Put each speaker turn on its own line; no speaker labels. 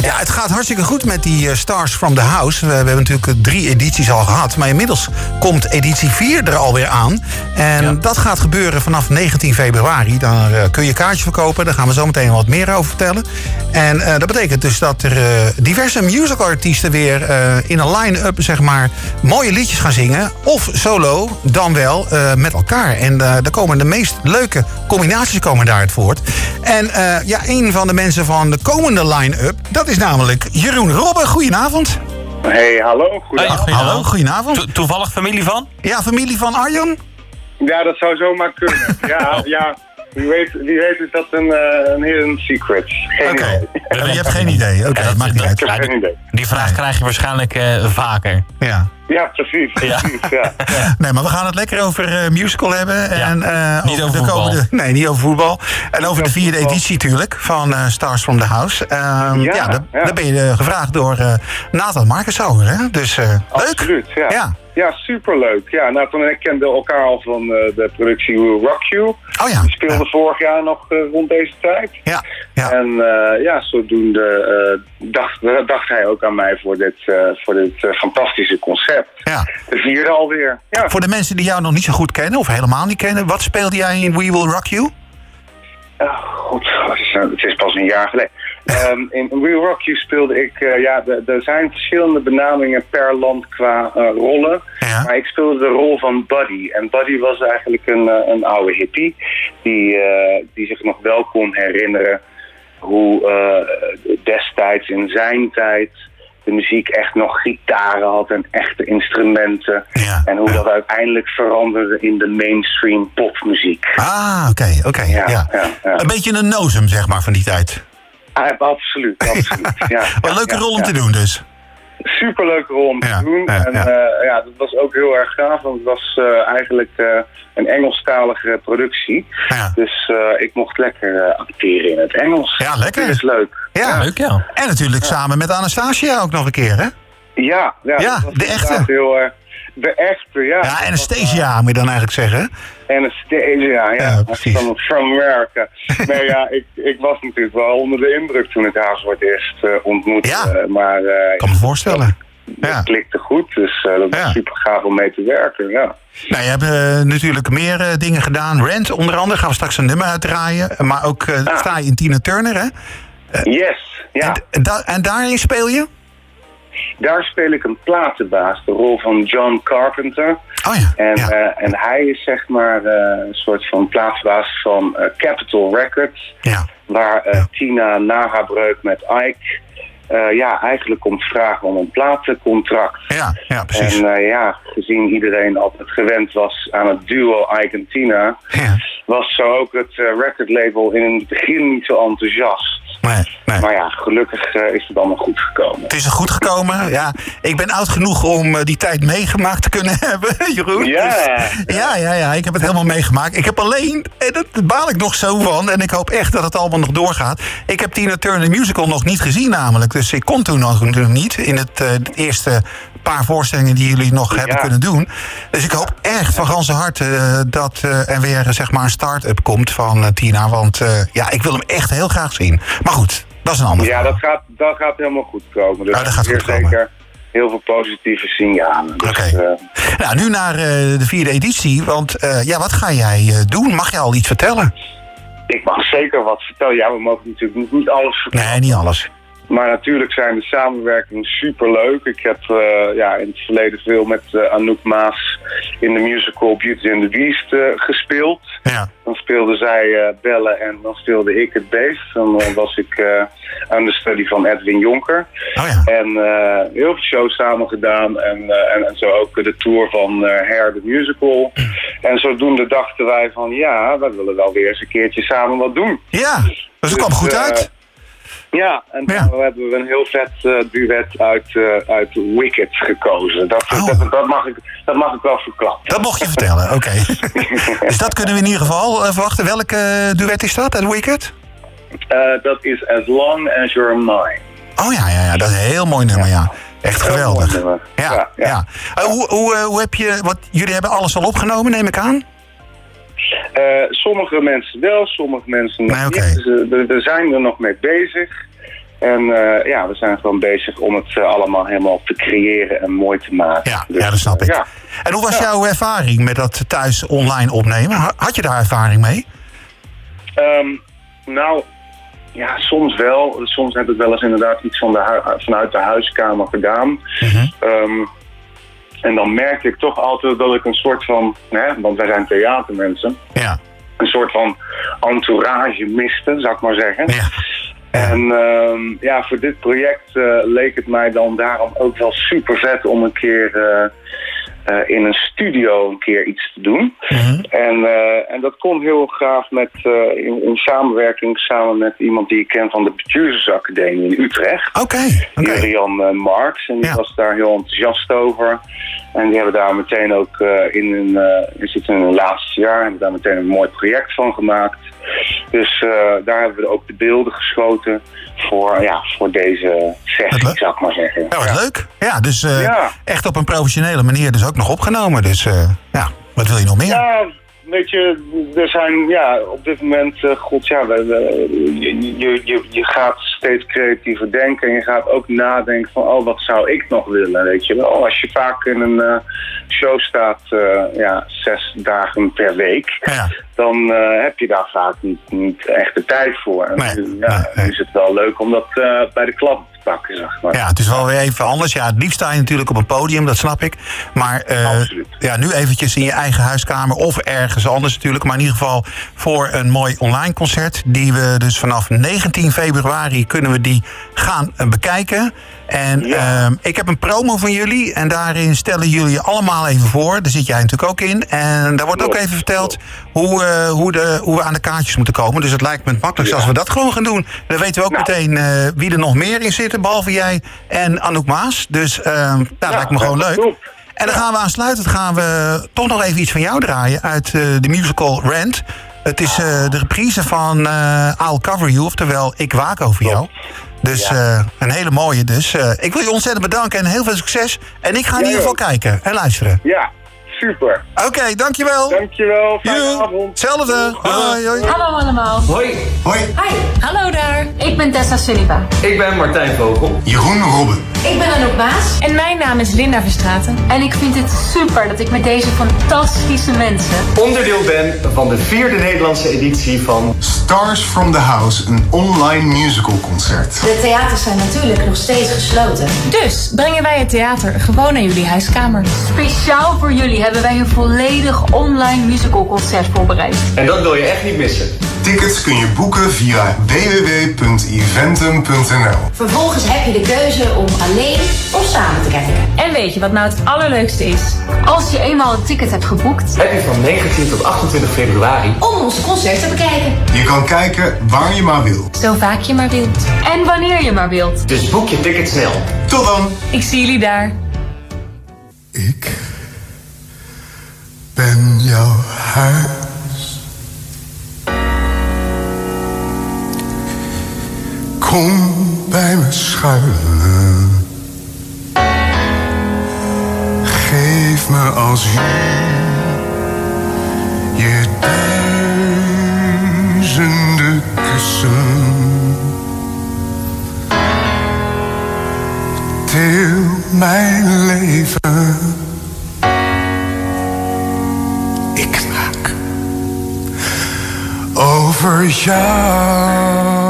Ja, het gaat hartstikke goed met die eh, Stars from the House. We, we hebben natuurlijk eh, drie edities al gehad. Maar inmiddels komt editie 4 er alweer aan. En dat gaat gebeuren vanaf 19 februari. Daar eh, kun je kaartjes verkopen. Daar gaan we zo meteen wat meer over vertellen. En eh, dat betekent dus dat er eh, diverse musicalartiesten weer eh, in een line-up, zeg maar, mooie liedjes gaan zingen. Of solo, dan wel eh, met elkaar. En eh, daar komen de meest leuke combinaties komen daaruit voort. En eh, ja, een van de mensen van de komende line-up, dat is namelijk Jeroen Robben. Goedenavond.
Hey, hallo. Goedendag.
Hey.
Hallo, goedenavond.
To- toevallig familie van?
Ja, familie van Arjan?
Ja, dat zou zomaar kunnen. Ja, ja. Wie weet, wie weet is dat een, eh, een hidden secret. Geen
Oké,
idee.
Oh, je hebt geen idee. Oké, dat maakt niet
Ik
uit.
heb geen idee.
Die vraag krijg je waarschijnlijk eh, vaker.
Ja.
Ja, precies. precies ja.
Nee, maar we gaan het lekker over eh, musical hebben. En, eh,
niet over
de
voetbal.
komende- nee, niet over voetbal. En over de vierde editie natuurlijk van eh, Stars from the House. Ehm, ja,
Ja,
daar,
ja.
daar ben je eh, gevraagd door eh, Nathan Markensauer, hè? Dus eh, leuk.
Absoluut, ja.
Ja.
ja. superleuk. Ja, Nathan en ik kenden elkaar al van eh, de productie Rock You.
Oh ja.
Die speelde vorig jaar nog eh, rond deze tijd.
Ja, ja.
En eh, ja, zodoende eh, dacht, dacht hij ook aan mij voor dit, eh, voor dit eh, fantastische concept.
ja.
De vierde alweer. Ja.
Voor de mensen die jou nog niet zo goed kennen of helemaal niet kennen, wat speelde jij in We Will Rock You?
Ja, goed, het is, het is pas een jaar geleden. Ehm, in We Rock You speelde ik... eh, ja, de- er zijn verschillende benamingen per land qua eh, rollen.
Ja.
Maar ik speelde de rol van Buddy. En Buddy was eigenlijk een, eh, een oude hippie... Die, eh, die zich nog wel kon herinneren... hoe eh, destijds in zijn tijd... de muziek echt nog gitaren had en echte instrumenten.
Ja.
En hoe dat uiteindelijk veranderde in de mainstream popmuziek.
Ah, oké, oké. ja,
Ja, ja, ja.
Een beetje een nozem, zeg maar, van die tijd.
Ah, absoluut, absoluut. Ja,
Wat een
ja,
leuke
ja,
rol om
ja.
te doen dus.
Superleuke rol om te
Ja,
doen.
ja,
en
ja.
eh, ja, dat was ook heel erg gaaf, want het was eh, eigenlijk eh, een Engelstalige productie.
Ja.
Dus eh, ik mocht lekker eh, acteren in het Engels.
Ja, lekker.
Dat is leuk.
Ja.
Leuk ja.
En natuurlijk samen met Anastasia ook nog een keer, hè?
Ja, ja,
Ja,
dat was
de echte.
inderdaad Heel, eh, de echte, ja.
Ja,
eh,
Anastasia moet je dan eigenlijk zeggen.
Anastasia, ja.
Ja, precies.
Van, from America. nee, ja, ik, ik was natuurlijk wel onder de indruk toen ik haar voor het eerst eh, ontmoette.
Ja.
Eh, maar eh,
Ik kan me voorstellen. Ja.
dat klikte goed, dus eh, dat was
Ja.
super gaaf om mee te werken, ja.
Nou, je hebt eh, natuurlijk meer eh, dingen gedaan. Rent onder andere, gaan we straks een nummer uitdraaien. Maar ook eh, sta je in Tina Turner, hè?
Yes,
Eh,
ja.
En, da- en daarin speel je?
Daar speel ik een platenbaas, de rol van John Carpenter.
Oh ja.
En,
ja.
eh, en hij is zeg maar eh, een soort van platenbaas van eh, Capitol Records.
ja.
Waar eh, Tina na haar breuk met Ike eh, ja, eigenlijk komt vragen om een platencontract.
Ja, ja,
En
precies.
eh, ja, gezien iedereen altijd gewend was aan het duo Ike en Tina...
Ja.
was zo ook het eh, recordlabel in het begin niet zo enthousiast.
Nee, nee.
Maar ja, gelukkig eh, is het allemaal goed gekomen.
Het is er goed gekomen. Ja, ik ben oud genoeg om eh, die tijd meegemaakt te kunnen hebben, Jeroen.
Ja.
Dus- ja, ja, ja. Ik heb het helemaal meegemaakt. Ik heb alleen, en dat baal ik nog zo van, en ik hoop echt dat het allemaal nog doorgaat. Ik heb Tina Turner musical nog niet gezien namelijk. Dus ik kon toen nog nog niet in het eh, de eerste paar voorstellingen die jullie nog hebben
Ja.
kunnen doen. Dus ik hoop echt van ganse harte eh, dat eh, er weer eh, zeg maar een start-up komt van eh, Tina. Want eh, ja, ik wil hem echt heel graag zien. Maar goed, dat is een ander
Ja,
verhaal.
dat gaat, dat gaat helemaal goed komen. Dus
Oh, dat gaat
weer
goed komen.
zeker heel veel positieve signalen. Dus,
Oké.
eh,
Nou, nu naar eh, de vierde editie. Want eh, ja, wat ga jij eh, doen? Mag je al iets vertellen?
ik mag zeker wat vertellen. Ja, we mogen natuurlijk niet, niet alles vertellen.
Nee, niet alles.
Maar natuurlijk zijn de samenwerkingen superleuk. Ik heb eh, ja, in het verleden veel met eh, Anouk Maas in de musical Beauty and the Beast eh, gespeeld.
Ja,
Dan speelde zij eh, Bellen en dan speelde ik het beest. Dan eh, was ik eh aan de studie van Edwin Jonker.
oh ja.
En eh, heel veel shows samen gedaan. En, eh, en, en zo ook de tour van eh Hair the Musical.
Mm.
En zodoende dachten wij van ja, we willen wel weer eens een keertje samen wat doen.
Ja, dus het kwam
Dus,
goed
eh,
uit.
Ja, en
Ja.
toen hebben we een heel vet eh, duet uit, eh, uit Wicked gekozen. Dat,
Oh.
dat, dat, mag ik, dat mag ik wel verklappen.
Dat mocht je vertellen, oké. dus dat kunnen we in ieder geval eh, verwachten. Welke eh, duet is dat, uit Wicked?
Eh, dat is As Long As You're Mine.
Oh ja, ja, ja, dat is een heel mooi nummer, ja. Echt
Heel
geweldig.
mooi nummer.
Ja, ja.
Ja, ja.
Eh, hoe, hoe, eh, hoe heb je... Wat, jullie hebben alles al opgenomen, neem ik aan?
Eh, sommige mensen wel, sommige mensen nog
Nee, oké.
niet. Dus, eh, we- we zijn er nog mee bezig. En eh, ja, we zijn gewoon bezig om het eh, allemaal helemaal te creëren en mooi te maken.
Ja,
Dus,
ja, dat snap ik.
ja.
En hoe was jouw ervaring met dat thuis online opnemen? Ha- Had je daar ervaring mee?
Ehm, nou, ja, soms wel. Soms heb ik wel eens inderdaad iets van de hui- vanuit de huiskamer gedaan.
Mhm.
Ehm, en dan merkte ik toch altijd dat ik een soort van, hè, want wij zijn theatermensen,
Ja.
een soort van entourage miste, zou ik maar zeggen.
ja.
En ehm, ja, voor dit project eh, leek het mij dan daarom ook wel super vet om een keer eh, eh, in een studio een keer iets te doen. En, eh, en dat kon heel graag met, eh, in, in samenwerking samen met iemand die ik ken van de Bestuurdersacademie in Utrecht.
Oké, oké.
Julian eh, Marx. En die
Ja.
was daar heel enthousiast over. En die hebben daar meteen ook eh, in hun, eh, we zitten in hun laatste jaar, hebben daar meteen een mooi project van gemaakt. Dus eh, daar hebben we ook de beelden geschoten voor, ja, voor deze
Wat leuk.
sessie, zou ik maar zeggen.
Dat was leuk. Ja, dus eh,
Ja.
echt op een professionele manier dus ook nog opgenomen. Dus eh, ja, wat wil je nog meer?
Ja, weet je, er zijn ja, op dit moment, eh, god ja, we- we- je, je, je, je gaat steeds creatiever denken en je gaat ook nadenken van, oh, wat zou ik nog willen, weet je wel. Als je vaak in een eh, show staat, eh, ja, zes dagen per week,
Ja.
dan eh, heb je daar vaak niet, niet echt de tijd voor. En,
Nee,
eh, ja,
nee, nee.
dan is het wel leuk om dat eh, bij de klap te pakken, zeg maar.
Ja, het is wel weer even anders. Ja, het liefst sta je natuurlijk op een podium, dat snap ik. Maar eh,
Absoluut.
ja, nu eventjes in je eigen huiskamer of ergens anders natuurlijk. Maar in ieder geval voor een mooi online concert. Die we dus vanaf 19 februari kunnen we die gaan eh, bekijken. En
Ja.
ehm, ik heb een promo van jullie. En daarin stellen jullie je allemaal even voor. Daar zit jij natuurlijk ook in. En daar wordt ook
Klopt,
even verteld hoe, eh, hoe, de, hoe we aan de kaartjes moeten komen. Dus het lijkt me het makkelijkst
Ja.
als we dat gewoon gaan doen. Dan weten we ook
Nou.
meteen eh, wie er nog meer in zitten, behalve jij en Anouk Maas. Dus eh, nou, dat lijkt me gewoon
dat
leuk.
klopt.
En dan gaan we aansluitend gaan we toch nog even iets van jou draaien uit eh, de musical Rent. Het is eh, de reprise van eh I'll Cover You, oftewel Ik Waak Over Jou. Dus eh, een hele mooie dus. Eh, ik wil je ontzettend bedanken en heel veel succes. En ik ga in
Jij
ieder geval kijken en luisteren.
Ja, super.
Oké, dankjewel.
Dankjewel, fijne
Joe.
avond.
Hetzelfde. Hoi, hoi.
Hallo allemaal.
Hoi,
Hi. Hallo daar. Ik ben Tessa Sullivan.
ik ben Martijn Vogel.
Jeroen Robben.
Ik ben Anouk Baas.
En mijn naam is Linda Verstraten.
En ik vind het super dat ik met deze fantastische mensen...
Onderdeel ben van de vierde Nederlandse editie van
Stars from the House, een online musical concert.
De theaters zijn natuurlijk nog steeds gesloten.
Dus brengen wij het theater gewoon naar jullie huiskamer.
Speciaal voor jullie hebben wij een volledig online musical concert voorbereid.
En dat wil je echt niet missen.
Tickets kun je boeken via www.eventum.nl.
Vervolgens heb je de keuze om alleen of samen te kijken.
En weet je wat nou het allerleukste is?
Als je eenmaal een ticket hebt geboekt...
Heb je van 19 tot 28 februari
Om ons concert te bekijken.
Je kan kijken waar je maar wil.
Zo vaak je maar wilt.
en wanneer je maar wilt...
Dus boek je ticket snel.
Tot dan!
Ik zie jullie daar.
Ik ben jouw huis. Kom bij me schuilen. Geef me als je duizenden kussen. Til mijn leven. Ik waak over jou.